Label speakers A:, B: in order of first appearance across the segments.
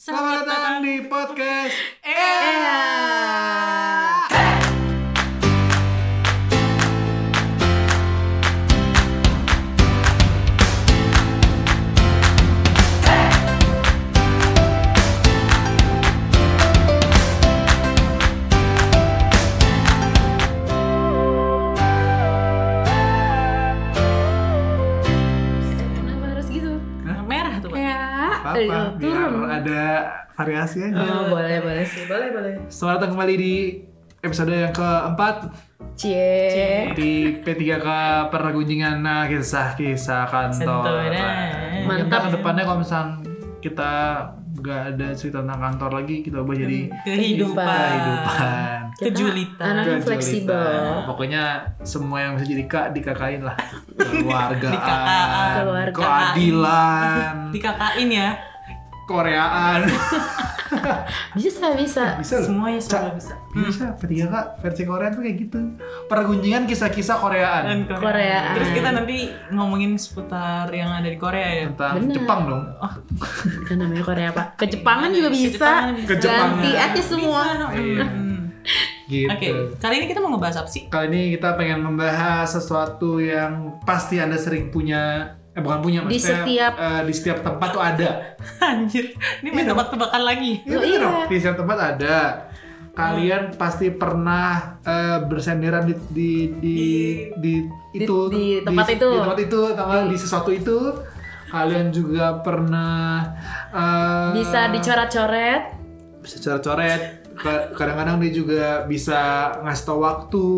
A: Selamat datang di podcast
B: Ea. Kenapa harus gitu?
A: Hah?
B: Merah tuh. Pak.
C: Ya,
A: Apa?
B: Ayo,
A: Biar
B: turun.
A: ada variasi aja.
B: Oh, boleh boleh sih, boleh boleh.
A: Selamat datang kembali di episode yang keempat
C: cie.
A: di P3K Pergunjingan Nah, kisah-kisah kantor.
B: Kantoran.
C: Mantap.
A: Mantap. Kedepannya kalau misal kita nggak ada cerita tentang kantor lagi, kita ubah jadi
B: Kehidupan.
A: kehidupan.
B: Kejulitan.
C: Anak- Anaknya kan fleksibel.
A: Kejulitan. Pokoknya semua yang bisa jadi kak dikakain lah.
B: Dikakaan.
A: Keluargaan,
C: Keluargaan.
A: keadilan,
B: Dikakain ya.
A: koreaan.
C: Bisa, bisa.
A: Bisa loh.
B: Semuanya
A: Cak,
B: selalu bisa.
A: Bisa, P3K Iya, versi Korea tuh kayak gitu. Pergunjingan kisah-kisah Koreaan.
B: Dan Korea.
C: Koreaan.
B: Terus kita
A: Iya.
B: nanti ngomongin seputar yang ada di Korea ya.
A: Tentang
C: Bener.
A: Jepang dong.
C: Kan namanya Korea, Pak. Ke Jepangan juga bisa.
B: Kejepangan bisa.
A: Kejepangan.
C: Ganti aja semua.
A: Iya.
B: Hmm.
A: Gitu.
B: Oke, kali ini kita mau ngebahas apa sih?
A: Kali ini kita pengen membahas sesuatu yang pasti Anda sering punya eh bukan punya
C: Di
A: maksudnya,
C: setiap-
A: eh, di setiap tempat tuh ada.
B: Anjir, ini main
A: Iya.
B: tebak-tebakan lagi.
A: Iya
C: Oh,
A: bener
C: iya.
A: dong, di setiap tempat ada. Kalian pasti pernah eh, bersenderan di di di, di
C: Di-
A: itu
C: di tempat itu.
A: di tempat itu, tanggal di sesuatu itu. Kalian juga pernah eh,
C: Bisa dicoret-coret.
A: bisa coret-coret. Ka- Kadang-kadang dia juga bisa ngasih tau waktu,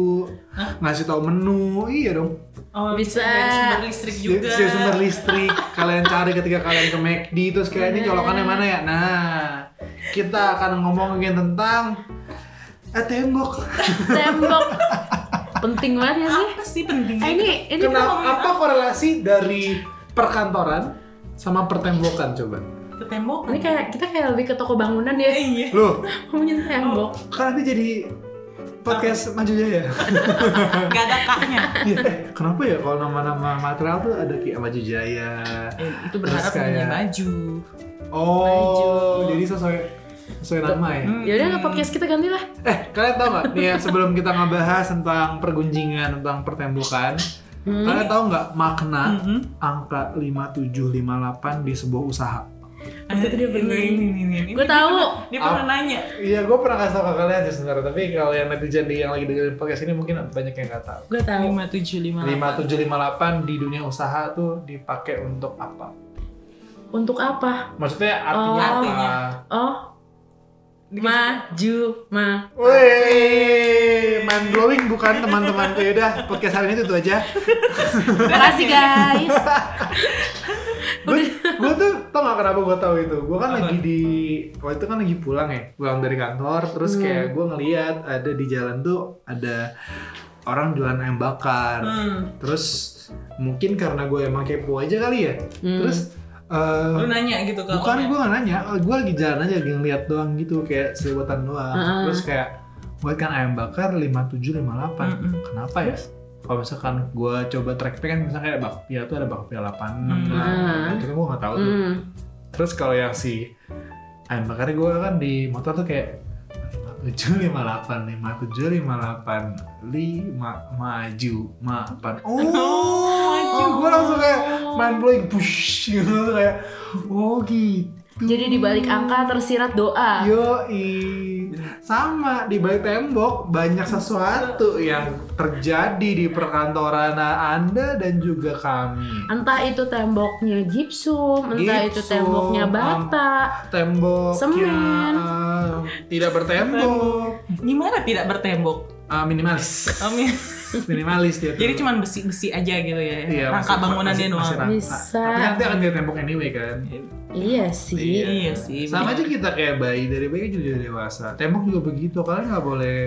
A: ngasih tau menu, iya dong.
B: Oh,
C: Bisa.
B: dari sumber listrik juga.
A: Dia- dia Iya, sumber listrik kalian cari ketika kalian ke McD terus kayak ini colokannya mana ya nah kita akan ngomongin tentang eh tembok
C: Tembok. Penting banget ya sih.
B: Apa sih pentingnya?
C: Eh, ini ini
A: kenapa apa korelasi dari perkantoran sama pertembokan coba
B: Ke tembok. Eh,
C: ini kayak kita kayak lebih ke toko bangunan ya.
B: Iya.
A: loh
C: Ngomongin tembok.
B: Oh.
A: kan nanti jadi podcast maju jaya
B: Gak ada kaknya.
A: Iya, eh, kenapa ya kalau nama-nama material tuh ada kayak maju jaya
B: Eh, itu
A: Terus
B: berharap punya
A: kayak- Eh.
B: baju.
A: oh jadi sesuai sesuai nama ya
B: Hmm.
C: Ya udah podcast kita gantilah.
A: Eh, kalian tau gak? Nih ya, sebelum kita ngebahas tentang pergunjingan, tentang pertembokan
C: Hmm.
A: Kalian tau gak makna
B: Mhm.
A: angka 5758 di sebuah usaha?
B: Ada
C: Itu
A: Ah.
C: dia bener.
B: Ah, Ini, ini, ini, ini.
C: Gue tahu.
B: Dia pernah nanya.
A: Iya, gue pernah kasih tau ke kalian sih sebenarnya Tapi kalian netizen di- yang lagi dengerin podcast ini mungkin banyak yang gak tau
C: Gue tahu.
B: Lima tujuh lima.
A: 5758 di dunia usaha tuh dipakai untuk apa?
C: Untuk apa?
A: Maksudnya artinya
C: Oh.
A: apa?
C: Oh, maju, ma.
A: Woi, mind blowing bukan teman-temanku Yaudah, podcast hari ini itu aja
C: Makasih guys.
A: gue tuh tau gak kenapa gue tahu itu gue kan lagi di waktu itu kan lagi pulang ya pulang dari kantor terus
C: Hmm.
A: kayak gue ngeliat ada di jalan tuh ada orang jualan ayam bakar
B: Hmm.
A: terus mungkin karena gue emang kepo aja kali ya
C: Hmm.
A: terus eh,
B: Lu nanya gitu ke
A: bukan
B: orangnya.
A: gue gak nanya gue lagi jalan aja lagi ngeliat doang gitu kayak seliwetan doang
C: Ah.
A: terus kayak gue kan ayam bakar 5758
B: Mm-mm.
A: kenapa ya kalau misalkan gue coba track kan misalnya kayak bakpia tuh ada bakpia
B: Hmm.
A: 86 nah, itu kan gue gak tahu tuh
C: Hmm.
A: Terus kalau yang si ayam bakarnya gue kan di motor tuh kayak 5758, 5758, 5 maju, ma pan. Oh,
B: maju.
A: gue langsung kayak mind blowing, push gitu Langsung kayak oh gitu.
C: Jadi di balik angka tersirat doa.
A: Yoi. Sama di balik tembok banyak sesuatu yang terjadi di perkantoran Anda dan juga kami.
C: Entah itu temboknya gipsum, entah itu
A: Gipsum,
C: temboknya
A: am-
C: bata.
A: tembok
C: Semen.
A: yang, eh, tidak bertembok
B: Gimana tidak bertembok?
A: Ah, minimalis
B: Om, ya.
A: minimalis dia tuh.
B: Jadi cuman besi-besi aja gitu ya.
A: Iya,
B: Rangka
A: masih-
B: bangunannya
A: masih-
B: doang.
A: masih rangka.
C: Bisa.
A: tapi nanti akan dia tembok anyway kan
C: Iya sih.
B: Iya sih.
A: sama aja kita kayak bayi dari bayi juga jadi dewasa tembok juga begitu kalian nggak boleh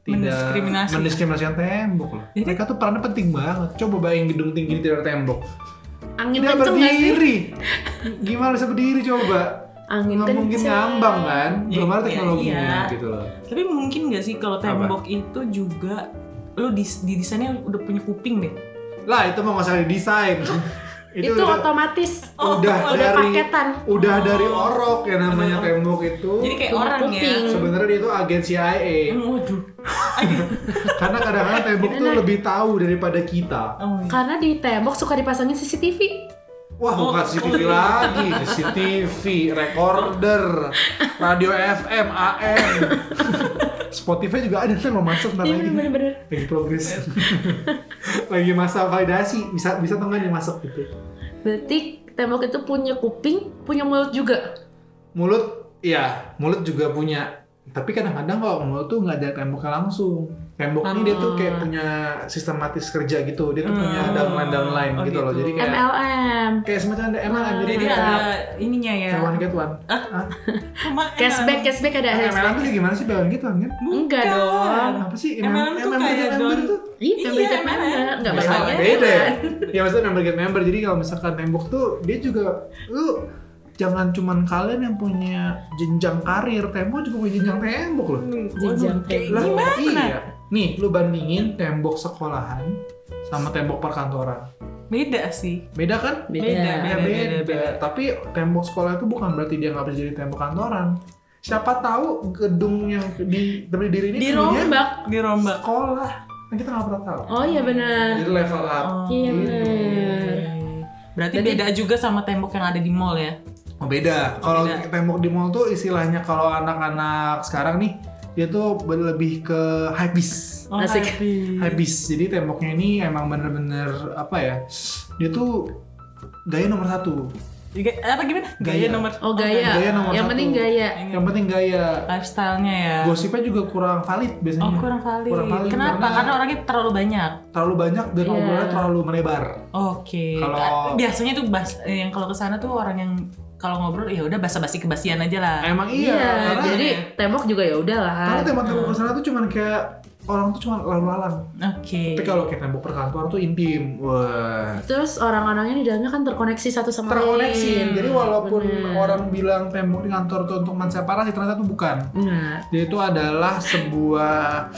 A: tidak
B: Mendiskriminasi.
A: mendiskriminasikan tembok loh
B: Jadi-
A: mereka tuh perannya penting banget coba bayangin gedung tinggi ini tidak ada tembok
C: Angin
A: tidak
C: kenceng nggak sih?
A: berdiri gimana bisa berdiri coba
C: Angin
A: nggak mungkin
C: kenceng.
A: ngambang kan belum
B: Iya,
A: ada teknologinya
B: iya.
A: gitu loh
B: Tapi mungkin gak sih kalau tembok itu juga lu di, di desainnya udah punya kuping deh.
A: lah itu mau nggak usah didesain
C: itu, otomatis
B: Oh,
A: udah
B: udah
A: dari
C: paketan.
A: udah dari orok ya
B: Oh.
A: namanya tembok itu
B: Jadi kayak
C: Punya
B: orang
C: kuping.
B: ya.
A: sebenarnya dia itu agen CIA
B: Eh, Waduh.
A: karena kadang-kadang tembok tuh
C: Gimana?
A: lebih tahu daripada kita
B: Oh, iya.
C: karena di tembok suka dipasangin CCTV.
A: Wah
B: Oh.
A: bukan CCTV lagi, CCTV, recorder, radio FM, AM, Spotify juga ada ntar mau masuk ntar
C: Iya
A: lagi.
C: bener-bener.
A: Lagi progres, lagi masa validasi, bisa bisa tuh nggak nih masuk gitu.
C: Berarti tembok itu punya kuping, punya mulut juga.
A: Mulut, iya mulut juga punya. Tapi kadang-kadang kalau mulut tuh nggak ada temboknya langsung. Tembok ini dia tuh kayak punya sistematis kerja gitu, dia tuh punya
B: Hmm.
A: downline downline
B: Oh,
A: gitu, loh.
B: gitu.
A: Jadi kayak
C: MLM.
A: kayak semacam ada MLM jadi
B: Ah. Jadi
A: kayak
B: ada ininya ya.
A: kayak one get one.
B: Cuma
C: Cashback,
B: MLM.
C: cashback ada
A: MLM
C: cashback.
A: tuh kayak gimana sih Bang gitu kan? Iya,
B: Bukan.
C: Enggak dong.
A: Apa sih
B: MLM Iya. tuh kayak
A: member
B: don-
A: tuh?
C: Iya,
B: Iya,
C: beda
B: MLM.
C: mana? Enggak
B: Nggak Iya,
A: Masalah
B: banyak.
A: beda. ya? Ya maksudnya member get member. Jadi kalau misalkan tembok tuh dia juga lu jangan cuman kalian yang punya jenjang karir, tembok juga punya jenjang tembok loh.
B: Hmm,
C: Jenjang
B: waduh, kayak
C: tembok.
A: Lah,
B: gimana?
A: Iya. Nih, lu bandingin tembok sekolahan sama tembok perkantoran.
B: Beda sih.
A: Beda kan?
B: Beda,
A: Ya, beda, Tapi tembok sekolah itu bukan berarti dia nggak bisa jadi tembok kantoran. Siapa tahu gedung yang di berdiri ini punya
C: Dirombak.
B: Dirombak.
A: sekolah kan kita nggak pernah tahu
C: Oh iya benar.
A: jadi level up
B: Oh,
C: Iya
A: gitu.
C: benar.
B: Berarti
C: Jadi-
B: beda juga sama tembok yang ada di mall ya.
A: oh beda kalau
B: Beda.
A: tembok di mall tuh istilahnya kalau anak-anak sekarang nih dia tuh ber- lebih ke hypebeast
B: Oh,
C: Asik.
B: happy.
A: hypebeast jadi temboknya ini emang bener-bener apa ya dia tuh gaya nomor satu
B: Ga- apa gimana? Gaya,
A: Gaya.
B: nomor
C: Oh gaya.
A: Gaya nomor
C: Yang
A: satu.
C: penting gaya.
A: yang penting gaya
B: lifestyle-nya ya.
A: gosipnya juga kurang valid biasanya
B: Oh kurang valid.
A: Kurang valid,
B: Kenapa?
A: karena-
B: Karena... orangnya terlalu banyak.
A: terlalu banyak dan
C: Iya.
A: obrolannya terlalu melebar
B: Oke. Kan
A: Kalau-
B: Biasanya tuh bas eh, yang kalau kesana tuh orang yang kalau ngobrol ya udah basa-basi kebasian aja lah.
A: emang iya, karena
C: jadi tembok juga ya
A: karena
C: udahlah.
A: tembok-tembok kesana tuh cuman kayak orang tuh cuman lalu-lalang
B: Oke.
A: Tapi kalau kayak tembok perkantoran tuh intim. Wah.
C: Terus orang-orangnya di dalamnya kan terkoneksi satu sama lain.
A: Terkoneksi. Jadi walaupun
C: Hmm, Bener.
A: orang bilang tembok di kantor tuh untuk menseparasi ternyata tuh bukan.
C: Nah,
A: Jadi itu adalah sebuah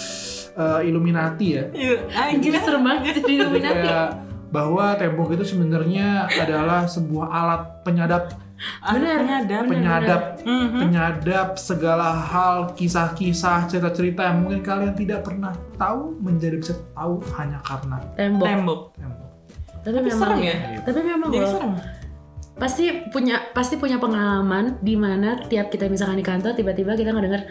A: eh, illuminati ya.
B: Yuk,
C: anjir
B: anjir.
C: serem banget jadi
A: Jadi
C: Illuminati.
A: kayak bahwa tembok itu sebenarnya adalah sebuah alat penyadap
C: Bener.
B: ada.
C: Bener.
A: penyadap
B: Mhm.
A: penyadap segala hal kisah-kisah cerita-cerita yang mungkin kalian tidak pernah tahu menjadi bisa tahu hanya karena
C: Tembok.
B: Tembok.
A: tembok.
C: Tapi
B: Tapi
C: memang
B: serem ya.
C: Tapi memang
B: Jadi
C: loh,
B: serem.
C: pasti punya pasti punya pengalaman di mana tiap kita misalkan di kantor tiba-tiba kita ngedenger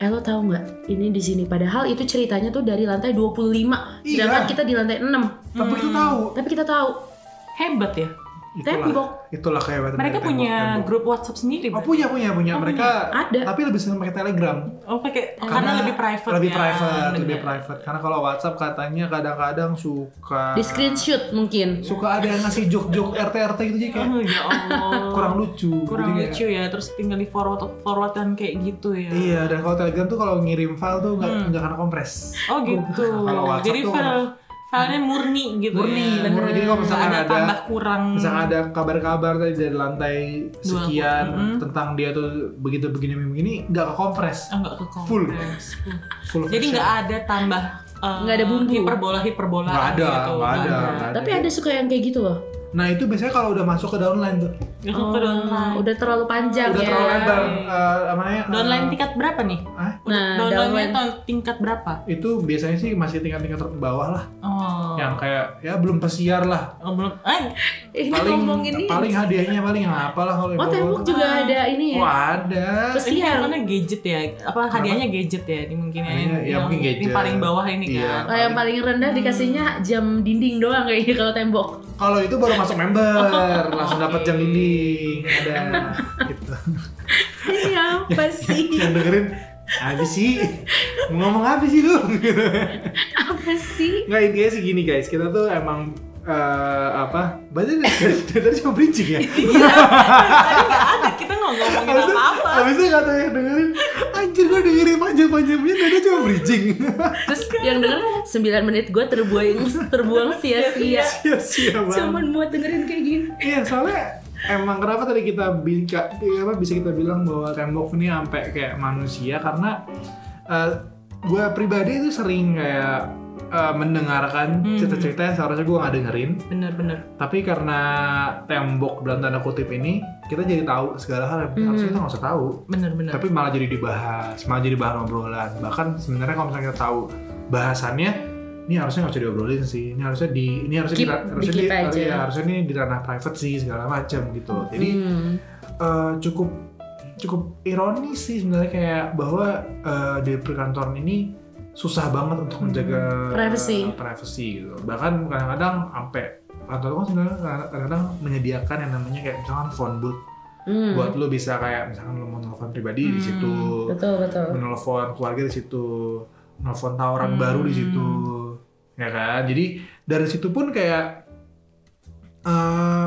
C: eh lo tahu nggak ini di sini padahal itu ceritanya tuh dari lantai 25 sedangkan
A: Iya.
C: kita di lantai 6
A: Tapi itu
B: Hmm.
A: tahu.
C: tapi kita tahu
B: Hebat ya.
C: tembok
A: Itulah kehebatan
B: Mereka
A: dari tembok,
B: punya
A: tembok.
B: grup WhatsApp sendiri.
A: Oh
B: Pak?
A: punya punya punya
B: Oh,
A: mereka
C: ada
A: tapi lebih sering pakai Telegram
B: Oh pakai karena, lebih private.
A: lebih
B: ya.
A: private lebih
B: Bener.
A: private karena kalau WhatsApp katanya kadang-kadang suka
C: di screenshot mungkin
A: suka ada yang ngasih jok-jok RT RT gitu jadi kayak
B: Oh, ya Allah.
A: kurang lucu
B: kurang
A: Jadi kayak-
B: lucu ya terus tinggal di forward forwardan kayak gitu ya
A: iya dan kalau Telegram tuh kalau ngirim file tuh nggak
B: Hmm.
A: nggak kena kompres
B: oh gitu
A: Kalau WhatsApp
B: jadi
A: tuh
B: file filenya murni gitu
A: murni
B: ya
A: Iya, murni jadi kalau misalkan
B: ada,
A: ada,
B: tambah kurang
A: misalkan ada kabar-kabar tadi dari lantai sekian
B: mm-mm.
A: tentang dia tuh begitu begini begini nggak ke kompres
B: Ah, nggak ke
A: Full.
B: kompres. Full.
A: Full
B: jadi
A: version.
B: nggak ada tambah eh,
C: Nggak ada bumbu.
B: hiperbola hiperbola
A: Nggak ada,
B: gitu.
A: nggak ada.
C: Nah, tapi ada suka yang kayak gitu loh
A: nah itu biasanya kalau udah masuk ke downline tuh
B: Nggak
C: Oh,
B: ke downline
C: udah terlalu panjang
A: udah
C: ya
A: terlalu lebar eh, apa namanya eh,
B: downline tingkat berapa nih
A: Hah?
B: Udah
C: Nah,
B: downline
C: downline.
B: tingkat berapa
A: itu biasanya sih masih tingkat-tingkat ter- bawah lah
B: oh
A: yang kayak ya belum pesiar lah
B: Oh, belum eh
C: ini
A: paling
C: ngomongin ini
A: paling hadiahnya paling apa lah kalau yang
C: oh
A: bawah.
C: tembok juga ada ini ya
A: Wah, ada
B: Ini
C: pesiar
B: handphonenya gadget ya? Apa hadiahnya gadget ya? Ini mungkin ya.
A: Hadiahnya, ya,
B: Yang-
A: mungkin gadget.
B: Ini paling bawah ini
A: Iya.
B: kan.
C: Lah, Oh, yang paling rendah
A: Hmm.
C: dikasihnya jam dinding doang kayaknya kalau tembok
A: kalau itu baru masuk member langsung dapat jam dinding ada gitu
C: ini apa sih
A: yang dengerin habis sih mau ngomong apa sih lu gitu
C: apa sih
A: nggak intinya sih gini guys kita tuh emang eh, apa berarti dari dari tadi cuma bridging ya
B: Tadi nggak ada, kita nggak ngomongin
A: Habis itu-
B: apa-apa.
A: habis itu kata yang dengerin anjir gue dengerin panjang-panjangnya tadi cuma bridging
C: Terus yang denger 9 menit gue terbuang terbuang sia-sia.
A: sia-sia Iya, banget
C: Cuman buat dengerin kayak gini.
A: iya soalnya emang kenapa tadi kita bisa apa bisa kita bilang bahwa tembok ini sampai kayak manusia karena eh gue pribadi itu sering kayak eh eh, mendengarkan
B: Hmm.
A: cerita-cerita yang seharusnya gue nggak dengerin
B: Bener-bener.
A: tapi karena tembok dalam tanda kutip ini kita jadi tahu segala hal yang
C: Hmm. Ya.
A: harusnya kita nggak usah tahu
B: Bener-bener.
A: tapi malah jadi dibahas malah jadi bahan obrolan bahkan sebenarnya kalau misalnya kita tahu bahasannya ini harusnya nggak usah diobrolin sih ini harusnya di ini harusnya
C: Keep-
A: di, harusnya
C: di-keep
A: di-
C: aja.
A: ya, harusnya ini di ranah private sih segala macam gitu jadi
C: Hmm.
A: eh, cukup cukup ironis sih sebenarnya kayak bahwa eh, di perkantoran ini susah banget untuk menjaga
C: Hmm. Privacy.
A: eh, privacy gitu bahkan kadang-kadang sampai kantor kan sebenarnya kadang-kadang menyediakan yang namanya kayak misalkan phone booth
C: Hmm.
A: buat lo bisa kayak misalkan lo mau telepon pribadi di
B: Hmm,
A: situ
C: betul betul.
A: menelpon keluarga di situ, menelpon tawaran
B: Hmm.
A: baru di situ,
C: Hmm.
A: ya kan? Jadi dari situ pun kayak eh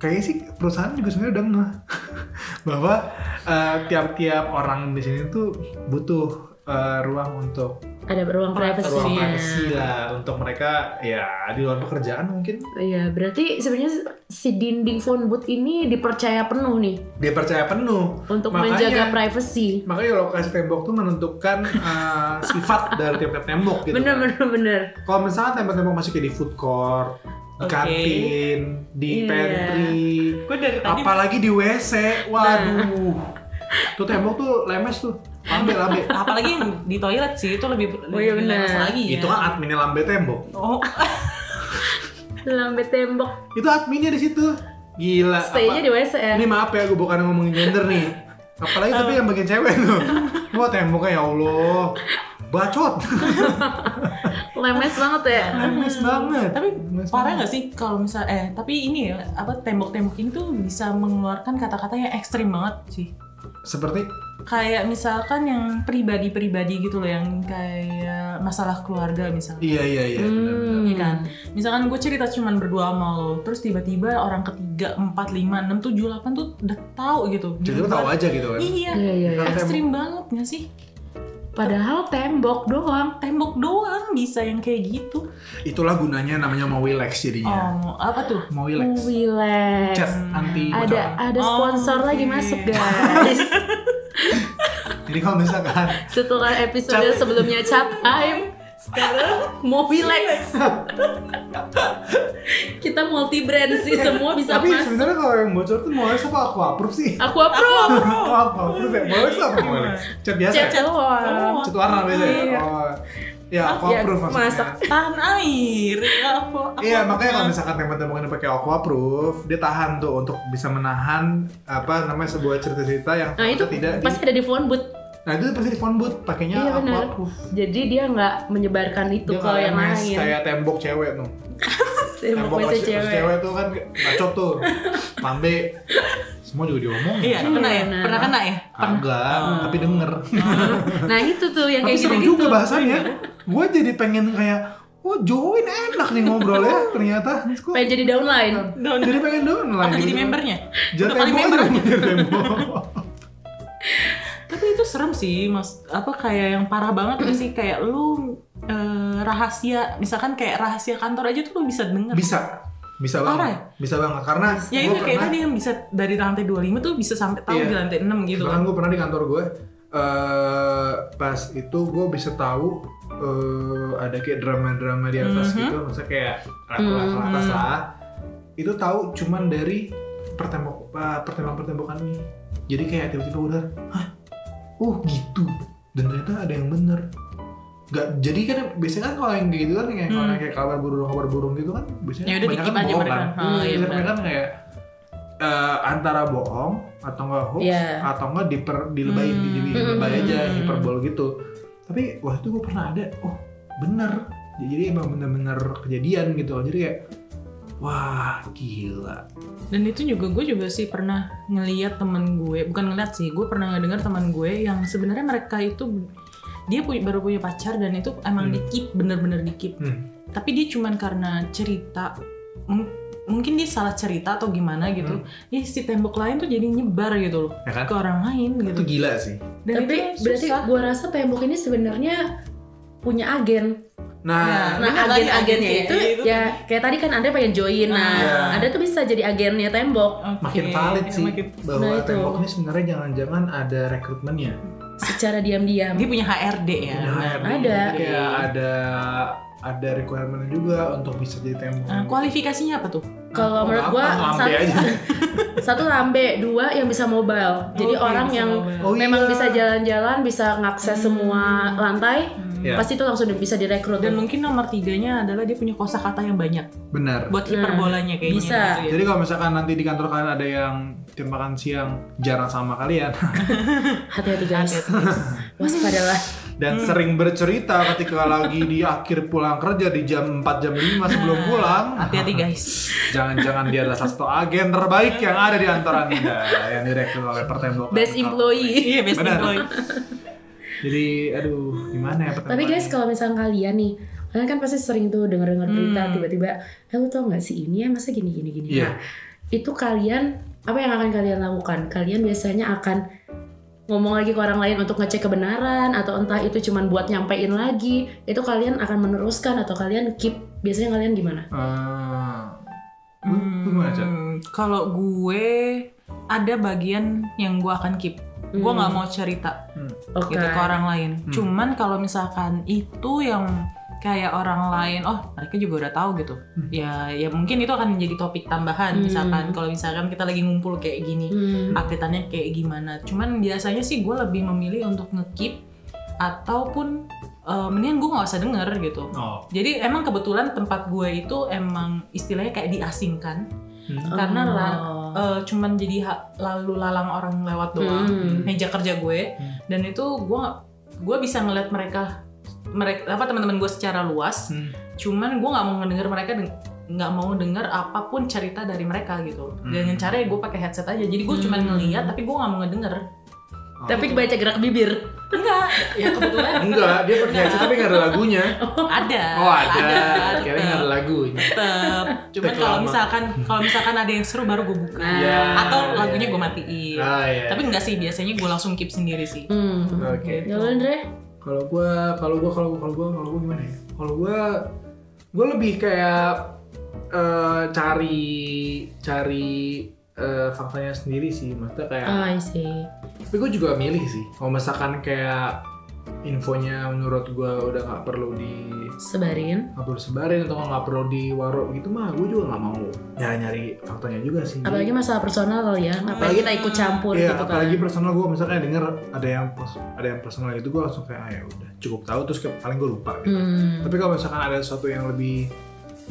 A: kayaknya sih perusahaan juga sebenarnya udah ngeh bahwa eh, tiap-tiap orang di sini tuh butuh eh, ruang untuk
C: Ada ruang
B: Privacy.
A: ruang
C: privasinya.
A: privacy lah untuk mereka ya di luar pekerjaan mungkin
C: Iya, berarti sebenarnya si dinding phone booth ini dipercaya penuh nih
A: dia percaya penuh
C: untuk
A: Makanya-
C: menjaga privacy.
A: makanya lokasi tembok tuh menentukan eh, sifat dari tiap-tiap tembok gitu
C: Bener
A: kan.
C: bener bener.
A: kalau misalnya tembok-tembok masih kayak di food court, di
B: Oke.
A: kantin, di
C: Iya.
A: pantry,
B: Gue dari tadi Nah.
A: apalagi di WC, waduh. Tuh tembok tuh lemes tuh, lambe lambe.
B: apalagi yang di toilet sih itu lebih
C: Oh, iya
B: lebih
C: bener.
B: lemes lagi ya.
A: Itu kan adminnya lambe tembok.
B: Oh,
C: Lambe tembok.
A: Itu adminnya di situ. Gila.
C: Stay-nya di WC ya.
A: Ini maaf ya, gue bukan ngomongin gender nih. Apalagi
B: Oh.
A: tapi yang bagian cewek tuh. Wah temboknya ya Allah. Bacot.
C: Lemes banget
A: Iya,
C: ya.
A: lemes banget.
B: Hmm. tapi
A: Lemes
B: parah
A: banget.
B: nggak sih kalau misal eh tapi ini ya apa tembok-tembok ini tuh bisa mengeluarkan kata-kata yang ekstrim banget sih.
A: Seperti
B: Kayak misalkan yang pribadi-pribadi gitu loh yang kayak masalah keluarga misalnya.
A: iya iya iya
C: Hmm,
A: benar-benar.
B: Iya kan? Misalkan gue cerita cuman berdua sama lo, terus tiba-tiba orang ketiga, empat, lima, enam, tujuh, delapan tuh udah tahu gitu.
A: Jadi lu tahu aja gitu kan.
B: Iya,
C: Iya iya. iya.
B: ekstrim banget nggak sih?
C: Padahal tembok doang.
B: Tembok doang bisa yang kayak gitu.
A: Itulah gunanya namanya mau relax jadinya.
B: Oh, apa tuh?
A: Mau
C: Oh,
A: relax.
C: relax.
A: Chat anti
C: Ada
A: bocoran.
C: ada
B: Oh,
C: sponsor
B: oke.
C: lagi masuk guys.
A: Jadi kalau misalkan
C: Setelah episode
A: Chat.
C: sebelumnya chat time
B: Sekarang
C: mau relax. Kita multi brand sih semua bisa
A: tapi
C: masuk.
A: sebenarnya kalau yang bocor tuh mau relax apa aku approve sih?
C: Aku approve.
A: Aku approve ya. Mau relax apa mau relax? Chat biasa. ya?
C: Chat doang.
A: Chat warna biasa. ya?
C: Iya.
A: Oh. Ya, aku
C: Ya,
A: approve maksudnya.
C: masak.
B: tahan air. Ya, apa? apa-
A: Iya, makanya kalau misalkan teman-teman yang pakai aqua proof, dia tahan tuh untuk bisa menahan apa namanya sebuah cerita-cerita yang
C: Nah itu
A: ternyata tidak di-
C: pasti ada di phone booth.
A: Nah, itu pasti di phone booth pakainya
C: Iya,
A: aqua
C: benar.
A: proof.
C: Jadi dia nggak menyebarkan itu
A: Dia
C: ke yang
A: kayak
C: lain.
A: mes, kayak tembok cewek tuh.
C: Tembok
A: Tembok
C: meja
A: masih-
C: cewek.
A: masih cewek tuh kan bacot tuh. Lambe. Semua juga diomongin.
B: Iya, pernah ya?
C: Bener.
B: Pernah kena ya?
A: Agak,
B: Oh. gitu
A: tapi denger.
C: Nah itu tuh yang
A: tapi
C: kayak
A: seru
C: gitu-gitu.
A: juga bahasannya.
B: Iya.
A: Gue jadi pengen kayak, oh join enak nih ngobrol ya ternyata. Terus gua
C: Pengen jadi downline.
A: Nah,
B: Down.
A: jadi pengen doang lah. gitu.
B: Apa jadi membernya?
A: Jadi
B: Udah paling
A: tembok aja
B: member.
A: dong, jadi tembok.
B: Tapi itu serem sih, mas. Apa kayak yang parah banget nggak sih? Kayak lu eh, rahasia, misalkan kayak rahasia kantor aja tuh lu bisa denger.
A: Bisa, bisa
B: Parah
A: banget.
B: ya? Bisa
A: Bisa banget karena
B: Ya
A: gue
B: itu kayak
A: pernah,
B: tadi yang bisa dari lantai 25 tuh bisa sampai tahu
A: Iya.
B: di lantai 6 gitu
A: bahkan
B: kan.
A: gue pernah di kantor gue. eh pas itu gue bisa tahu eh, ada kayak drama-drama di atas
B: Mhm.
A: gitu, maksudnya kayak level-level atas
B: Mhm.
A: lah. Itu tahu cuman dari pertembok eh, pertembok-pertembokan ini. Jadi kayak tiba-tiba udah, hah, oh gitu. Dan ternyata ada yang bener. Gak, jadi kan biasanya kan kalau yang kayak gitu kan kayak kalau
B: Hmm.
A: yang kayak kabar burung kabar burung gitu kan biasanya
B: Ya udah
A: banyak
B: dikip aja mereka. Oh, iya
A: Biasanya
B: benar.
A: mereka kan kayak eh, antara bohong atau enggak hoax
C: Iya.
A: atau enggak diper dilebayin
B: Hmm.
A: di dilebay aja
B: Hmm.
A: hiperbol gitu. Tapi wah itu gue pernah ada, oh bener. Ya, Jadi emang bener-bener kejadian gitu. Jadi kayak wah gila.
B: Dan itu juga gue juga sih pernah ngeliat temen gue, bukan ngeliat sih, gue pernah ngedengar teman gue yang sebenarnya mereka itu dia punya, baru punya pacar dan itu emang
A: Hmm.
B: dikip, bener-bener dikip.
A: Hmm.
B: Tapi dia cuman karena cerita, mung- mungkin dia salah cerita atau gimana gitu, ya si tembok lain tuh jadi nyebar gitu loh
A: Hmm. Ya kan?
B: ke orang lain
A: Itu
B: gitu.
A: gila sih.
B: Dan
C: Tapi
B: itu
C: berarti
B: susah.
C: gua rasa tembok ini sebenarnya punya agen.
A: Nah,
B: Bener lagi
C: Nah, agen-agennya
B: agennya,
C: itu
B: iya, itu.
C: ya kayak tadi kan Anda pengen join. Nah,
A: Iya.
C: Anda tuh bisa jadi agennya tembok.
B: Oke,
A: makin valid sih
B: makin-
A: bahwa
C: Nah, itu.
A: tembok ini sebenarnya jangan-jangan ada rekrutmennya.
C: secara diam-diam.
B: Dia punya HRD ya.
A: Punya HRD.
C: Iya, Ada.
A: gitu. Kayak ada ada requirement juga untuk bisa jadi tempo.
B: Nah, kualifikasinya apa tuh?
A: Oh,
C: Kalau menurut
A: apa?
C: gua
A: Lambe
C: satu,
A: aja.
C: satu lambe, dua yang bisa mobile. Jadi
B: Oke,
C: orang
B: Oh, iya, bisa
C: yang
B: ngobrol.
A: iya, Oh,
C: memang
A: iya.
C: bisa jalan-jalan, bisa ngakses
B: Hmm.
C: semua lantai,
B: Hmm.
A: Iya.
C: pasti itu langsung bisa direkrut.
B: Dan mungkin nomor tiganya adalah dia punya kosakata yang banyak
A: Benar.
B: buat
C: Nah,
B: hiperbolanya kayaknya.
C: bisa.
B: gitu ya.
A: Jadi kalau misalkan nanti di kantor kalian ada yang tim makan siang jarang sama kalian
C: Hati-hati guys,
B: Hati-hati.
C: waspadalah.
A: dan sering bercerita ketika lagi di akhir pulang kerja di jam 4 jam 5 sebelum pulang. ah,
B: Hati-hati guys.
A: Jangan-jangan dia adalah salah satu agen terbaik yang ada di kantor Anda yang direkrut oleh pertembokan.
C: Best employee.
B: Iya, best
A: Benar.
B: employee.
A: Jadi aduh gimana ya pertembokan.
C: Tapi guys kalau misalnya kalian nih Kalian kan pasti sering tuh denger-denger berita
B: Hmm.
C: tiba-tiba Eh lu tau gak sih ini ya masa gini-gini gini
A: Iya.
C: Nah, Itu kalian Apa yang akan kalian lakukan? Kalian biasanya akan ngomong lagi ke orang lain untuk ngecek kebenaran atau entah itu cuman buat nyampein lagi itu kalian akan meneruskan atau kalian keep biasanya kalian gimana
A: Eh, Lu- lu gimana, Cak?
B: Hmm, Kalau gue ada bagian yang gue akan keep. Gue nggak mau cerita
C: Hmm. oke
B: gitu ke orang lain.
A: Hmm.
B: Cuman kalau misalkan itu yang kayak orang lain, oh mereka juga udah tahu gitu.
A: Hmm.
B: Ya, ya mungkin itu akan menjadi topik tambahan.
C: Hmm.
B: Misalkan kalau misalkan kita lagi ngumpul kayak gini,
C: Hmm.
B: updateannya kayak gimana. Cuman biasanya sih gue lebih memilih untuk ngekeep ataupun eh, mendingan gue nggak usah denger gitu.
A: oh.
B: Jadi emang kebetulan tempat gue itu emang istilahnya kayak diasingkan
A: Hmm.
B: karena
C: Oh.
B: la- eh, cuman jadi ha- lalu lalang orang lewat Oh, doang
C: Hmm.
B: meja kerja gue
A: Hmm.
B: dan itu gue nggak- gue bisa ngeliat mereka mereka apa teman-teman gue secara luas
A: Hmm.
B: cuman gue nggak mau ngedenger mereka deng- nggak mau denger apapun cerita dari mereka gitu dengan
A: Hmm.
B: cara gue pakai headset aja jadi gue cuman
C: Hmm.
B: ngeliat tapi gue nggak mau ngedenger
A: Oh.
C: tapi kebaca gerak bibir
B: enggak ya kebetulan
A: Enggak, dia pakai headset tapi nggak ada lagunya.
B: ada
A: Oh ada, kira
B: tetep.
A: nggak ada lagunya.
B: tetep cuman
A: Take
B: kalau
A: lama.
B: misalkan kalau misalkan ada yang seru baru gue buka
A: Iya.
B: atau lagunya gue matiin
A: Ah iya.
B: tapi enggak sih biasanya gue langsung keep sendiri sih Gitu.
C: hmm.
A: Oke.
C: ya lu Andre
A: Kalau gua, kalau gua, kalau gua, kalau gua, kalau gua gimana ya? Kalau gua, gua lebih kayak eh, cari cari eh, faktanya sendiri sih. Maksudnya
B: Ya.
A: kayak,
B: Eh.
C: oh, I see
A: tapi gua juga milih sih. Kalau misalkan kayak infonya menurut gua udah nggak perlu di
C: sebarin
A: nggak perlu sebarin atau nggak perlu diwaro gitu mah gue juga nggak mau nyari nyari faktanya juga sih
C: apalagi masalah personal kali ya ngapain
A: Apalagi-
C: kita ikut campur
A: Iya,
C: gitu kan
A: apalagi personal gue misalnya denger ada yang pers- ada yang personal itu gue langsung kayak ah ya udah cukup tahu terus kayak paling gue lupa gitu.
C: Hmm.
A: Tapi kalau misalkan ada sesuatu yang lebih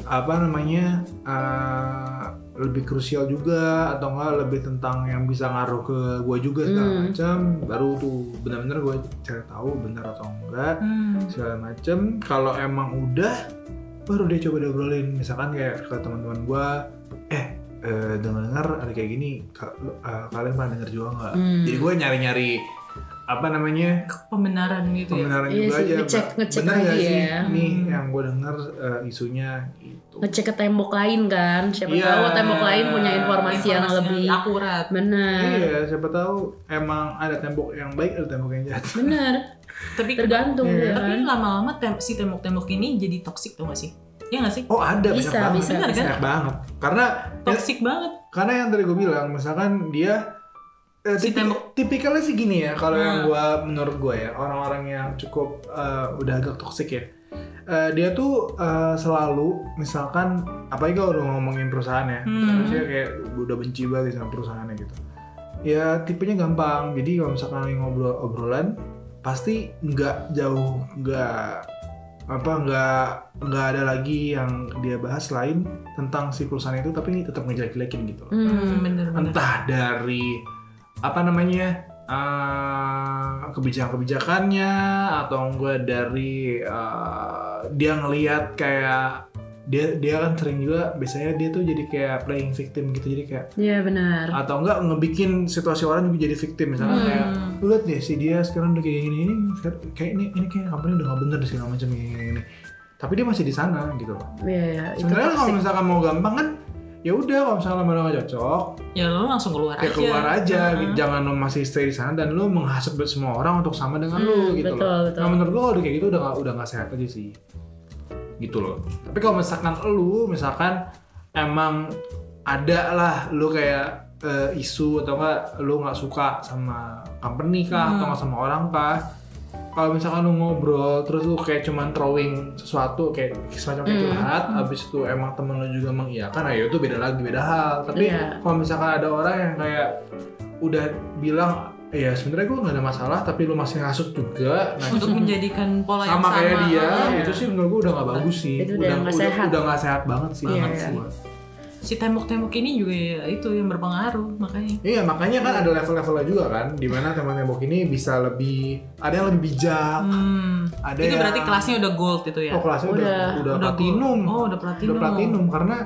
A: apa namanya eh, lebih krusial juga atau enggak lebih tentang yang bisa ngaruh ke gue juga segala
C: Hmm.
A: macam baru tuh benar-benar gue cari tahu benar atau enggak
B: Hmm.
A: segala macem kalau emang udah baru dia coba diobrolin misalkan kayak ke teman-teman gua eh eh dengar ada kayak gini ka- lu- eh, kalian pernah denger juga nggak
C: Hmm.
A: jadi gua nyari-nyari apa namanya
B: pembenaran gitu ya
A: pembenaran
C: Iya
A: juga
C: sih,
A: aja
C: ngecek-
A: Pak.
C: ngecek
A: bener nggak
C: lagi
A: sih
C: ya.
A: nih
B: Hmm.
A: yang gua denger eh, isunya gitu
C: ngecek ke tembok lain kan siapa
A: Iya.
C: tahu tembok lain punya informasi, yang
B: Informasi
C: lebih
B: akurat
C: benar
A: iya siapa tahu emang ada tembok yang baik ada tembok yang jahat
C: benar
B: tapi
C: tergantung
A: Iya.
C: ya
B: tapi
C: kan
B: lama-lama tem- si tembok-tembok ini jadi toksik tuh gak sih ya gak sih
A: oh ada
C: Bisa,
A: banyak banget
C: bisa,
A: banyak
B: bisa.
A: banget karena
B: toksik banget
A: karena yang tadi gue bilang misalkan dia eh,
B: Si
A: tipi-
B: tembok.
A: tipikalnya sih gini ya kalau yang
B: Hmm.
A: gue menurut gue ya orang-orang yang cukup eh, udah agak toksik ya Eh, dia tuh eh, selalu misalkan apalagi kalau udah ngomongin perusahaan ya
B: Hmm.
A: karena dia kayak udah benci banget sama perusahaannya gitu ya tipenya gampang jadi kalau misalkan lagi ngobrol obrolan pasti nggak jauh nggak apa nggak nggak ada lagi yang dia bahas lain tentang si perusahaan itu tapi tetap ngejelek-jelekin gitu loh.
B: hmm,
C: hmm.
B: bener-bener
A: entah dari apa namanya eh, kebijakan-kebijakannya atau enggak dari eh, dia ngelihat kayak dia dia kan sering juga biasanya dia tuh jadi kayak playing victim gitu jadi kayak
C: iya benar
A: atau enggak ngebikin situasi orang juga jadi victim misalnya
B: Hmm.
A: kayak "Lu lihat deh si dia sekarang udah kayak gini ini kayak ini ini kayak company udah nggak bener deh, segala macam kayak gini, gini tapi dia masih di sana gitu loh
C: iya iya, itu
A: sebenarnya kalau
C: toxic.
A: misalkan mau gampang kan ya udah kalau misalkan lo nggak cocok
B: ya lo langsung keluar
A: ya
B: aja
A: keluar aja
B: Heeh.
A: gitu. jangan lo masih stay di sana dan lo menghasut semua orang untuk sama dengan lo
C: Hmm,
A: gitu
C: betul
A: loh
C: betul
A: nah menurut gue kalau udah kayak gitu udah nggak udah nggak sehat aja sih gitu loh tapi kalau misalkan lo misalkan emang ada lah lo kayak eh, isu atau enggak lu nggak suka sama company kah
C: Hmm.
A: atau nggak sama orang kah kalau misalkan lu ngobrol terus lu kayak cuman throwing sesuatu kayak semacam kayak
C: Hmm.
A: curhat abis itu emang temen lu juga mengiyakan nah itu beda lagi beda hal tapi
C: Iya.
A: kalau misalkan ada orang yang kayak udah bilang ya sebenarnya gue nggak ada masalah tapi lu masih ngasut juga nah
B: untuk menjadikan pola yang
A: sama
B: sama
A: kayak dia
C: Iya.
A: itu sih menurut gue udah gak bagus sih
C: Itu udah nggak sehat.
A: udah nggak sehat banget sih
C: Iya.
A: menurut gua.
B: si tembok-tembok ini juga ya, itu yang berpengaruh makanya
A: iya makanya kan ada level-levelnya juga kan dimana teman tembok ini bisa lebih ada yang lebih bijak
B: hmm.
A: Ah, ada
B: itu
A: yang
B: berarti kelasnya udah gold itu ya
A: oh kelasnya udah
C: Udah.
A: udah,
B: gold.
A: platinum
B: oh udah platinum
A: udah platinum karena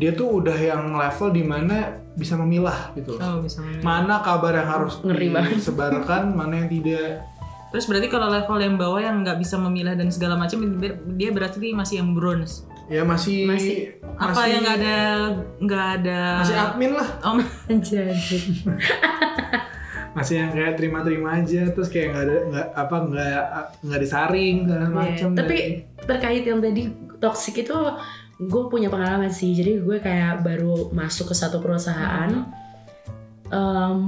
A: dia tuh udah yang level dimana bisa memilah gitu
B: oh bisa memilih.
A: mana kabar yang harus
C: Ngeri banget.
A: disebarkan mana yang tidak
B: terus berarti kalau level yang bawah yang nggak bisa memilah dan segala macam dia berarti masih yang bronze
A: ya masih
C: Masih.
B: apa
A: masih-
B: yang nggak ada nggak ada Oh,
A: masih admin lah
B: Om,
C: Anjir.
A: masih yang kayak terima-terima aja terus kayak nggak ada nggak apa nggak nggak disaring segala macam
C: Iya, Tapi
B: gitu.
C: terkait yang tadi toxic itu gue punya pengalaman sih. Jadi gue kayak baru masuk ke satu perusahaan. Em,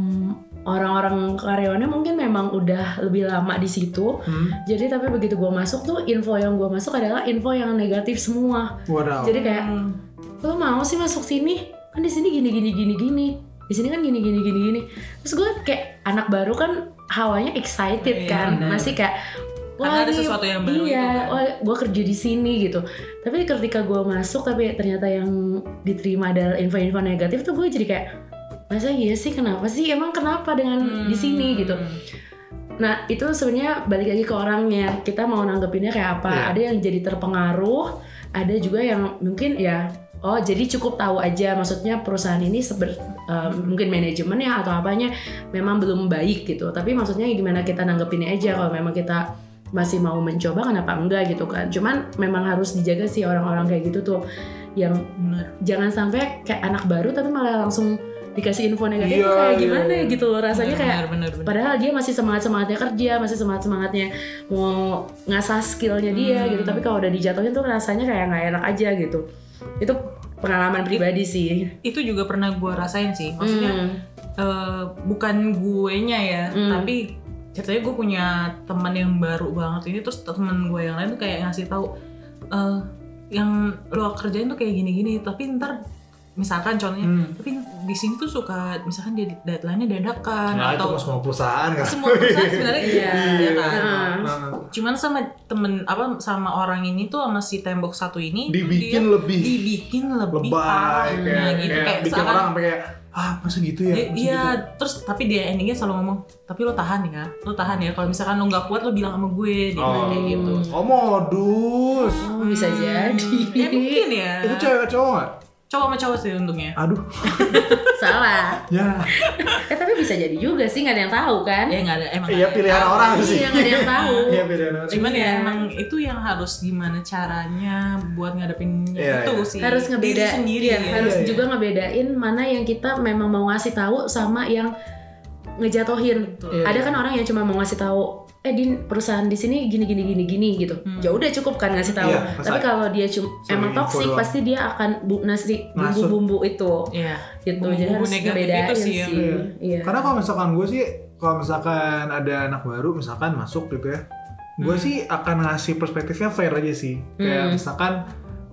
C: Orang-orang karyawannya mungkin memang udah lebih lama di situ.
A: hmm?
C: Jadi tapi begitu gue masuk tuh info yang gue masuk adalah info yang negatif semua.
A: wadaw
C: Jadi kayak
B: Hmm.
C: lo mau sih masuk sini? Kan di sini gini gini gini gini. Di sini kan gini gini gini gini. Terus gue kayak anak baru kan hawanya excited
B: Iya,
C: kan,
B: bener.
C: masih kayak
B: Karena ada
C: "Oh, ini-
B: sesuatu yang baru
C: iya,
B: gitu kan.
C: wah gue kerja di sini gitu. Tapi ketika gue masuk tapi ternyata yang diterima adalah info-info negatif tuh gue jadi kayak masa iya sih kenapa sih emang kenapa dengan di sini
B: Hmm.
C: gitu. Nah itu sebenarnya balik lagi ke orangnya kita mau nanggepinnya kayak apa.
A: Iya.
C: Ada yang jadi terpengaruh, ada juga yang mungkin ya oh jadi cukup tahu aja maksudnya perusahaan ini seber, eh, mungkin manajemennya atau apanya memang belum baik gitu. Tapi maksudnya gimana kita nanggepinnya aja kalau memang kita masih mau mencoba kenapa enggak gitu kan. Cuman memang harus dijaga sih orang-orang kayak gitu tuh yang
B: Bener.
C: jangan sampai kayak anak baru tapi malah langsung dikasih info negatif
A: Iya,
C: tuh kayak
A: iya,
C: gimana
A: iya.
C: gitu loh rasanya
B: Bener,
C: kayak
B: bener, bener.
C: Padahal dia masih semangat semangatnya kerja, masih semangat semangatnya mau ngasah skillnya dia
B: Hmm.
C: gitu. Tapi kalau udah dijatuhin tuh rasanya kayak nggak enak aja gitu. Itu pengalaman pribadi sih.
B: itu juga pernah gue rasain sih maksudnya
C: Hmm.
B: eh, bukan guenya ya,
C: Hmm.
B: tapi ceritanya gue punya teman yang baru banget ini terus teman gue yang lain tuh kayak ngasih tahu eh, yang lo kerjain tuh kayak gini-gini, tapi ntar misalkan contohnya,
A: Hmm.
B: tapi di sini tuh suka misalkan di deadline-nya dadakan
A: nah itu
B: atau
A: mah semua perusahaan kan
B: semua perusahaan sebenarnya gitu
C: Iya.
B: ya
A: Hmm.
B: kan.
C: Nah.
B: Cuman sama temen apa sama orang ini tuh sama si tembok satu ini dia
A: dibikin lebih
B: dibikin lebih parah
C: nah,
A: lebay kayak,
B: gitu
A: kayak
B: kayak
A: bikin
B: seakan-
A: orang sampai kayak ah masa gitu
B: Iya,
A: ya Masa
B: iya,
A: gitu?"
B: terus tapi dia endingnya selalu ngomong, tapi lo tahan ya, lo tahan ya. Kalau misalkan lo nggak kuat, lo bilang sama gue, dia bilang
A: Oh.
B: kayak gitu.
A: oh modus
C: Oh, bisa jadi.
B: Ya mungkin ya.
C: Iya.
A: itu cewek atau cowok nggak?
B: Coba sama cowok sih untungnya.
A: aduh
C: Salah.
A: ya
C: Eh tapi bisa jadi juga sih nggak ada yang tahu kan?
B: Ya nggak ada, emang.
A: iya
B: nggak ada.
A: pilihan orang sih
C: Iya nggak ada yang tahu.
A: iya pilihan orang
B: Cuman ya
C: Iya.
B: emang itu yang harus gimana caranya buat ngadepin
A: Iya,
B: itu
A: iya.
B: sih.
C: harus
B: Diri
C: ngebeda
B: sendiri
C: iya,
B: ya.
C: harus
A: Iya, iya.
C: juga ngebedain mana yang kita memang mau ngasih tahu sama yang ngejatohin
B: Betul.
A: Iya,
C: ada
A: iya.
C: kan orang yang cuma mau ngasih tahu eh din perusahaan di sini gini gini gini gini gitu
B: Hmm.
C: ya udah cukup kan ngasih tahu
A: Iya,
C: tapi
A: masa-
C: kalau dia cuma
A: Sorry,
C: emang
A: info
C: toksik
A: doang.
C: pasti dia akan bu nasi
A: Ngasut.
C: bumbu-bumbu itu
B: Iya.
C: gitu jadi
B: Bumbu-bumbu
C: harus
B: negatif
C: ngebedain
B: itu
C: sih,
B: sih yang-
C: iya
A: Karena kalau misalkan gue sih, kalau misalkan ada anak baru, misalkan masuk gitu ya, gue
B: Hmm.
A: sih akan ngasih perspektifnya fair aja sih. Kayak
C: Hmm.
A: misalkan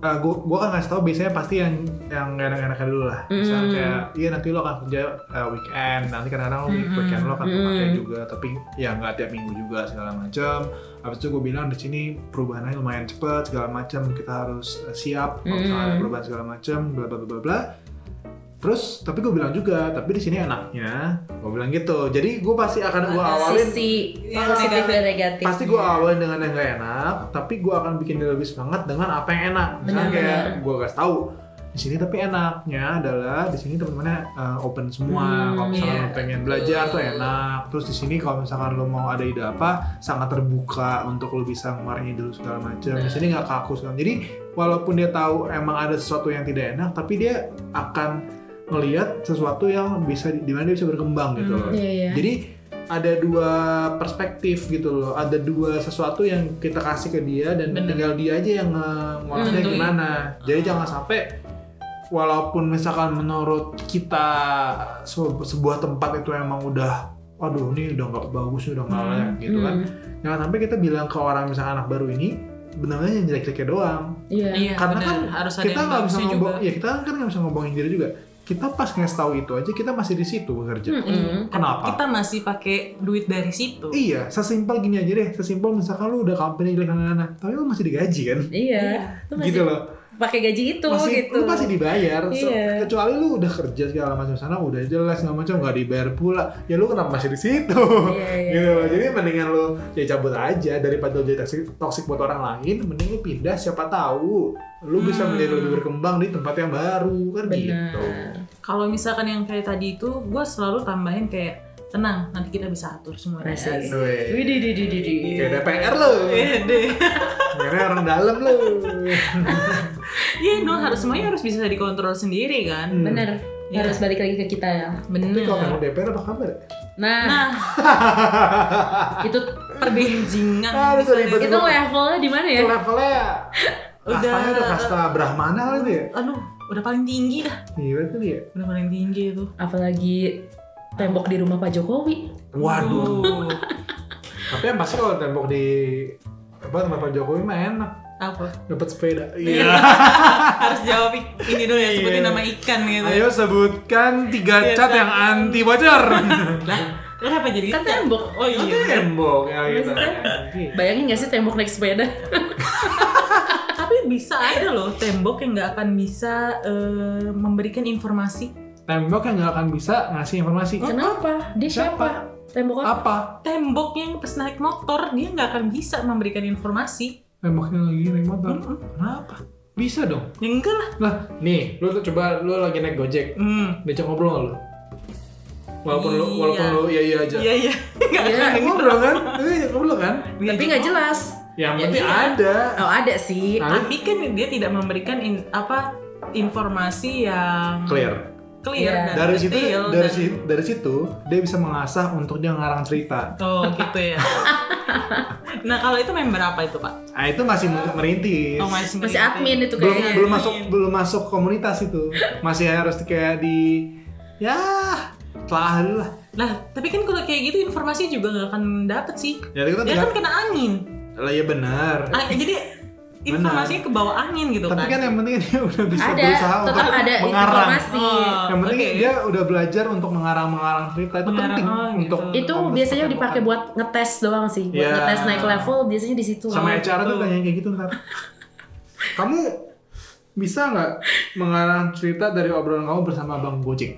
A: eh, gue gue akan ngasih tau biasanya pasti yang yang enak-enaknya dulu lah. Misalnya
C: Hmm.
A: kayak iya nanti lo akan kerja eh, weekend, nanti kadang-kadang lo
B: Hmm.
A: weekend lo akan
C: Hmm.
A: kepake juga, tapi ya nggak tiap minggu juga segala macam. Habis itu gue bilang di sini perubahannya lumayan cepat segala macam, kita harus eh, siap kalau misalnya ada
C: Hmm.
A: perubahan segala macam, bla bla bla bla bla. Terus tapi gue bilang juga, tapi di sini enaknya, gue bilang gitu. Jadi gue pasti akan gue
B: Ada
A: awalin,
C: sisi
B: Yang
C: positif
B: negatif.
C: dan negatif Iya.
A: pasti gue awalin dengan yang gak enak, tapi gue akan bikin dia lebih semangat dengan apa yang enak. Misalnya
C: Benar,
A: kayak
C: benar.
A: gue kasih tahu di sini tapi enaknya adalah di sini teman-temannya uh, open semua.
C: Hmm,
A: kalau misalkan
B: iya.
A: lo pengen belajar tuh enak. Terus di sini kalau misalkan lo mau ada ide apa, sangat terbuka untuk lo bisa ngeluarin ide lo segala macam. Di sini nggak kaku segala. Jadi walaupun dia tahu emang ada sesuatu yang tidak enak, tapi dia akan melihat sesuatu yang bisa di mana dia bisa berkembang gitu
B: Hmm.
A: loh.
C: Iya, iya.
A: Jadi ada dua perspektif gitu loh, ada dua sesuatu yang kita kasih ke dia dan
B: Bener.
A: tinggal dia aja yang nge- ngolahnya
B: Nentuin.
A: gimana. Jadi
B: Ah.
A: jangan sampai walaupun misalkan menurut kita sebu- sebuah tempat itu emang udah waduh ini udah nggak bagus udah nggak
B: Hmm.
A: layak gitu kan
C: Hmm,
A: jangan sampai kita bilang ke orang misalkan anak baru ini benar-benar yang jelek-jeleknya doang
C: Iya.
B: Iya,
A: Karena
B: benar.
A: kan
B: harus ada
A: kita
B: yang
A: nggak bisa
B: bagusnya
A: ngomong
B: juga.
A: ya kita kan nggak bisa ngomongin diri juga kita pas ngasih tahu itu aja kita masih di situ bekerja
B: Hmm,
C: Mm-mm.
A: Kenapa?
B: Kita masih pakai duit dari situ.
A: iya sesimpel gini aja deh sesimpel misalkan lu udah company jelek nana tapi lu masih digaji kan
C: Iya. Lu masih
A: gitu loh
C: pakai gaji itu
A: masih,
C: gitu.
A: lu masih dibayar So,
C: Iya.
A: kecuali lu udah kerja segala macam sana udah jelas segala macam nggak dibayar pula ya lu kenapa masih di situ
C: Iya, iya.
A: gitu loh jadi mendingan lu ya cabut aja daripada lu jadi toxic, toxic buat orang lain mending lu pindah siapa tahu lu bisa
B: Hmm.
A: menjadi lebih berkembang di tempat yang baru kan
C: Benar.
A: gitu
B: Kalau misalkan yang kayak tadi itu, gue selalu tambahin kayak tenang, nanti kita bisa atur semuanya.
C: Asik.
A: Weh.
C: Iya. Widih, Iya. di, di, di, di.
A: Gitu, eh. Kayak ada PR lu.
B: Wede.
A: Akhirnya orang dalam lu.
B: Iya dong, harus semuanya harus bisa dikontrol sendiri kan.
A: Hmm.
C: Bener.
B: Iya.
C: Harus balik lagi ke kita ya.
A: Tapi kalau
B: Bener.
A: kamu DPR apa kabar? ya?
C: Nah,
B: Nah,
C: itu
B: perbincangan.
A: Harus ribet.
C: itu levelnya di mana ya?
A: Itu levelnya
B: Iya. Udah.
A: kastanya udah kasta Brahmana kali ya.
B: Aduh, udah paling tinggi dah.
A: Iya itu dia.
B: Udah paling tinggi itu.
C: Apalagi tembok di rumah Pak Jokowi.
A: Waduh.
B: Aduh.
A: Hmm. Tapi yang pasti kalau tembok di apa tempat Pak Jokowi mah enak
B: Apa?
A: dapat sepeda.
B: Iya. harus jawab ik- ini dulu ya sebutin
A: Iya.
B: nama ikan gitu.
A: Ayo sebutkan
B: Iya,
A: tiga cat yang
B: kan.
A: anti bocor. Nah,
B: Lah, kenapa jadi
A: Iya.
C: Kan tembok.
B: Oh
A: Itu
B: iya.
A: tembok ya gitu.
C: Bayangin gak sih tembok naik sepeda?
B: Tapi bisa ada loh tembok yang nggak akan bisa eh, memberikan informasi.
A: Tembok yang nggak akan bisa ngasih informasi.
B: Oh,
C: Kenapa? Dia
A: Siapa?
C: siapa? Tembok apa?
A: Apa?
B: Tembok yang pas naik motor dia nggak akan bisa memberikan informasi.
A: Temboknya lagi naik motor.
B: Mm-mm.
A: Kenapa? Bisa dong.
B: Ya enggak lah.
A: Lah, nih, lu tuh coba lu lagi naik Gojek,
B: Hmm.
A: diajak ngobrol nggak lu? Walaupun lu
B: Iya.
A: walaupun lu iya iya aja.
B: Iya iya. Nggak
C: Iya,
B: akan
A: Eh,
B: denger.
A: ngobrol kan? Lu diajak ngobrol kan?
B: Dia
C: Tapi
B: juga-
C: nggak jelas.
A: Yang
B: Ya,
A: penting
B: iya.
A: ada.
C: Oh ada sih.
A: Nah,
B: Tapi kan dia tidak memberikan in- apa informasi yang
A: clear.
B: clear
C: Iya.
B: dan
A: Dari situ
B: detail
A: dari
B: dan-
A: situ dari situ dia bisa mengasah untuk dia ngarang cerita.
B: Oh gitu ya. nah kalau itu member apa itu pak?
A: Nah, itu masih merintis.
B: Oh, masih,
C: Masih admin itu
A: iya. belum
C: kayaknya.
A: belum
B: Iya.
A: masuk belum masuk komunitas itu. Masih harus kayak di ya telah dulu lah.
B: Nah tapi kan kalau kayak gitu informasi juga nggak akan dapet sih.
A: Ya kita
B: Dia kan
A: tinggal
B: kena angin.
A: lah ya benar.
B: Ah, jadi informasinya ke bawah angin gitu
A: Tapi kan
B: kan.
A: yang penting dia udah bisa
C: Ada,
A: berusaha untuk
C: tetap ada
A: mengarang.
C: informasi.
B: Oh,
A: yang penting
B: oke.
A: dia udah belajar untuk mengarang-mengarang cerita itu
B: Mengarang,
A: penting
B: oh, gitu.
A: untuk
C: Itu
A: untuk
C: biasanya
A: ketemu.
C: dipakai buat ngetes doang sih, buat
A: Iya.
C: ngetes naik level biasanya di situ.
A: sama
B: Oh,
A: HR tuh
B: gitu.
A: tanya kayak gitu ntar kamu bisa nggak mengarang cerita dari obrolan kamu bersama bang Gojek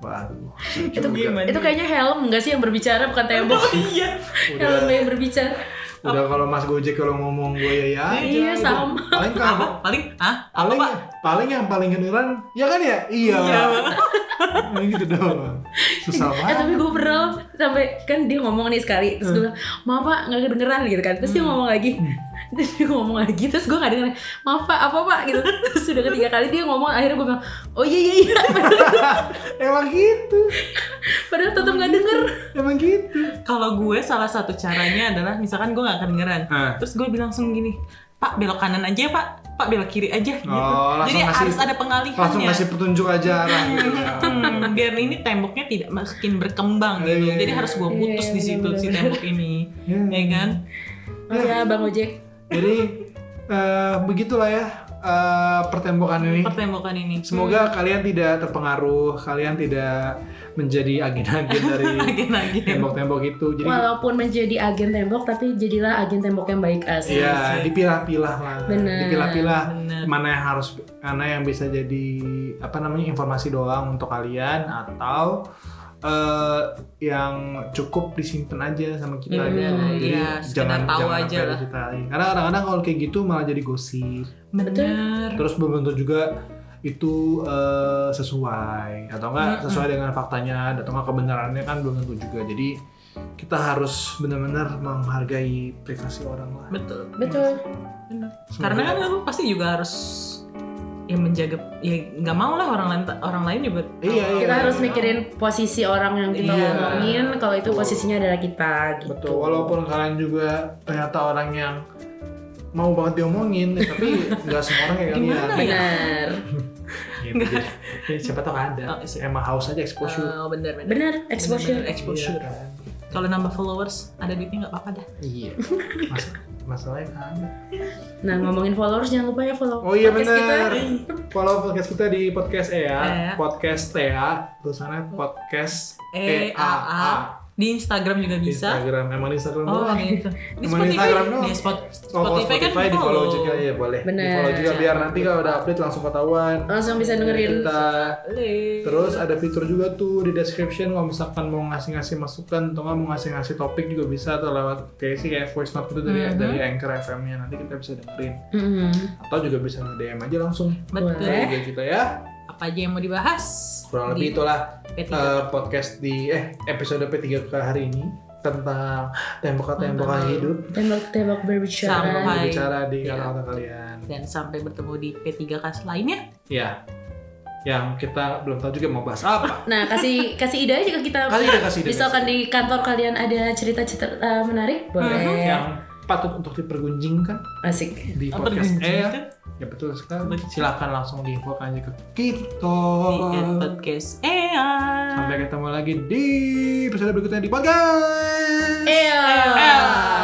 A: waduh lucu
B: Itu
A: juga.
B: gimana?
C: itu kayaknya helm nggak sih yang berbicara bukan tembok.
B: Oh, iya.
C: helm
A: udah
C: yang berbicara.
A: udah kalau Mas Gojek kalau ngomong gue ya ya aja
C: Iya,
A: gitu.
C: sama.
A: paling
B: Apa?
A: kamu
B: Paling? Ah?
A: paling
B: Apa?
A: paling yang paling kedengeran ya kan ya iya
B: Iya.
A: Nah, gitu doang susah
C: Eh tapi
A: banget
C: gue pernah sampai kan dia ngomong nih sekali
A: Hmm.
C: terus gue bilang maaf pak nggak kedengeran gitu kan terus dia ngomong lagi terus dia ngomong lagi terus gue nggak dengerin maaf pak apa pak gitu terus udah ketiga kali dia ngomong akhirnya gue bilang oh iya iya iya
A: emang gitu
C: padahal tetap nggak denger
A: emang gitu
B: Kalau gue salah satu caranya adalah misalkan gue nggak kedengeran.
A: Ah.
B: Terus gue bilang langsung gini, Pak belok kanan aja ya, Pak. Pak belok kiri aja. Gitu.
A: Oh,
B: Jadi
A: langsung ngasih-
B: harus ada pengalihannya.
A: langsung kasih petunjuk aja arah gitu ya.
B: Hmm, biar ini temboknya tidak makin berkembang gitu.
A: Iya, iya,
B: Jadi
A: iya.
B: harus gue putus
C: Iya,
B: di situ si
C: bener-bener.
B: tembok ini,
A: Iya.
B: ya kan?
C: oh ya bang ojek
A: Eh. Jadi eh, begitulah ya eh, pertembokan ini.
B: Pertembokan ini.
A: Semoga
B: Hmm.
A: kalian tidak terpengaruh, kalian tidak menjadi agen-agen dari
B: Lagi-lagi.
A: tembok-tembok itu. Jadi
C: walaupun menjadi agen tembok tapi jadilah agen tembok yang baik asli
B: Iya
A: ya dipilah-pilah lah,
C: Bener.
A: dipilah-pilah
B: Bener.
A: mana yang harus mana yang bisa jadi apa namanya informasi doang untuk kalian atau eh, yang cukup disimpan aja sama kita
C: Iya,
A: gitu. Jadi
B: iya, sekedar
A: jangan
B: tahu aja
A: jangan sampai
B: lah.
A: diceritain. Karena kadang-kadang kalau kayak gitu malah jadi gosip.
B: Bener.
A: terus belum tentu juga itu eh, sesuai atau enggak
B: Mm-mm.
A: sesuai dengan faktanya atau enggak kebenarannya kan belum tentu juga jadi kita harus benar-benar menghargai privasi orang lah
B: Betul.
C: betul
B: Bener.
A: Semoga-
B: Karena kan lu pasti juga harus ya menjaga ya nggak mau lah orang lain orang lain juga
A: Iya, iya.
C: kita harus mikirin posisi orang yang kita
A: Iya.
C: ngomongin kalau itu posisinya adalah kita gitu
A: betul walaupun kalian juga ternyata orang yang mau banget diomongin tapi nggak ya, semua orang kayak kalian Iya,
B: Gimana ya?
C: benar
A: gitu. Jadi, ya, siapa tahu ada.
B: Oh, sih.
A: Emang haus aja exposure.
B: Oh, bener bener.
C: Bener, exposure.
B: Bener-bener exposure.
A: Iya kan?
B: Kalau nambah followers ada duitnya nggak apa-apa dah.
A: Iya. Mas masalahnya kan.
C: Nah ngomongin followers jangan lupa ya follow
A: Oh iya
C: podcast kita.
A: benar. Follow podcast kita di podcast EA,
B: Ea.
A: podcast TEA, tulisannya podcast
B: E A A di Instagram juga
A: Di
B: bisa.
A: Instagram, emang di Instagram
B: Oh,
A: doang.
B: gitu. Di
A: Emang
B: Spotify,
A: di Instagram doang.
B: di Spot-
A: Oh, kalau
B: Spotify, kan
A: di follow juga ya boleh.
C: Bener.
A: Di follow juga biar nanti kalau udah update langsung ketahuan.
C: Langsung bisa dengerin.
A: Kita
B: Boleh.
A: Terus ada fitur juga tuh di description kalau misalkan mau ngasih-ngasih masukan atau nggak mau ngasih-ngasih topik juga bisa atau lewat kayak sih kayak voice note gitu dari
B: Mhm.
A: dari Anchor FM-nya nanti kita bisa dengerin
C: Mm-mm.
A: atau juga bisa nge-DM aja langsung
B: betul.
A: Dari IG kita ya.
B: Apa aja yang mau dibahas?
A: Kurang lebih
B: Di
A: itulah
B: P3.
A: eh, podcast di eh episode P3K hari ini tentang tembok-tembokan
B: Tentang-
A: hidup
C: Tembak-tembak berbicara.
B: Sampai-
A: bicara di
B: Iya.
A: kata-kata kalian.
B: dan sampai bertemu di P3K lainnya.
A: Ya. Yang kita belum tahu juga mau bahas apa.
C: Nah kasih kasih ide aja ke kita.
A: Kali kita kasih ide.
B: kan.
C: Misalkan di kantor kalian ada cerita-cerita eh, menarik, boleh.
A: yang patut untuk dipergunjingkan
C: Asik.
A: di
B: Apa
A: podcast Eh,
B: dengan
A: Air.
B: cinta?
A: Ya betul sekali. Gitu. Silahkan langsung diinfokan aja ke kita.
B: Di podcast E EA.
C: Eh,
B: Iya.
A: Sampai ketemu lagi di episode berikutnya di podcast.
B: E
C: Eyo.
B: Eyo.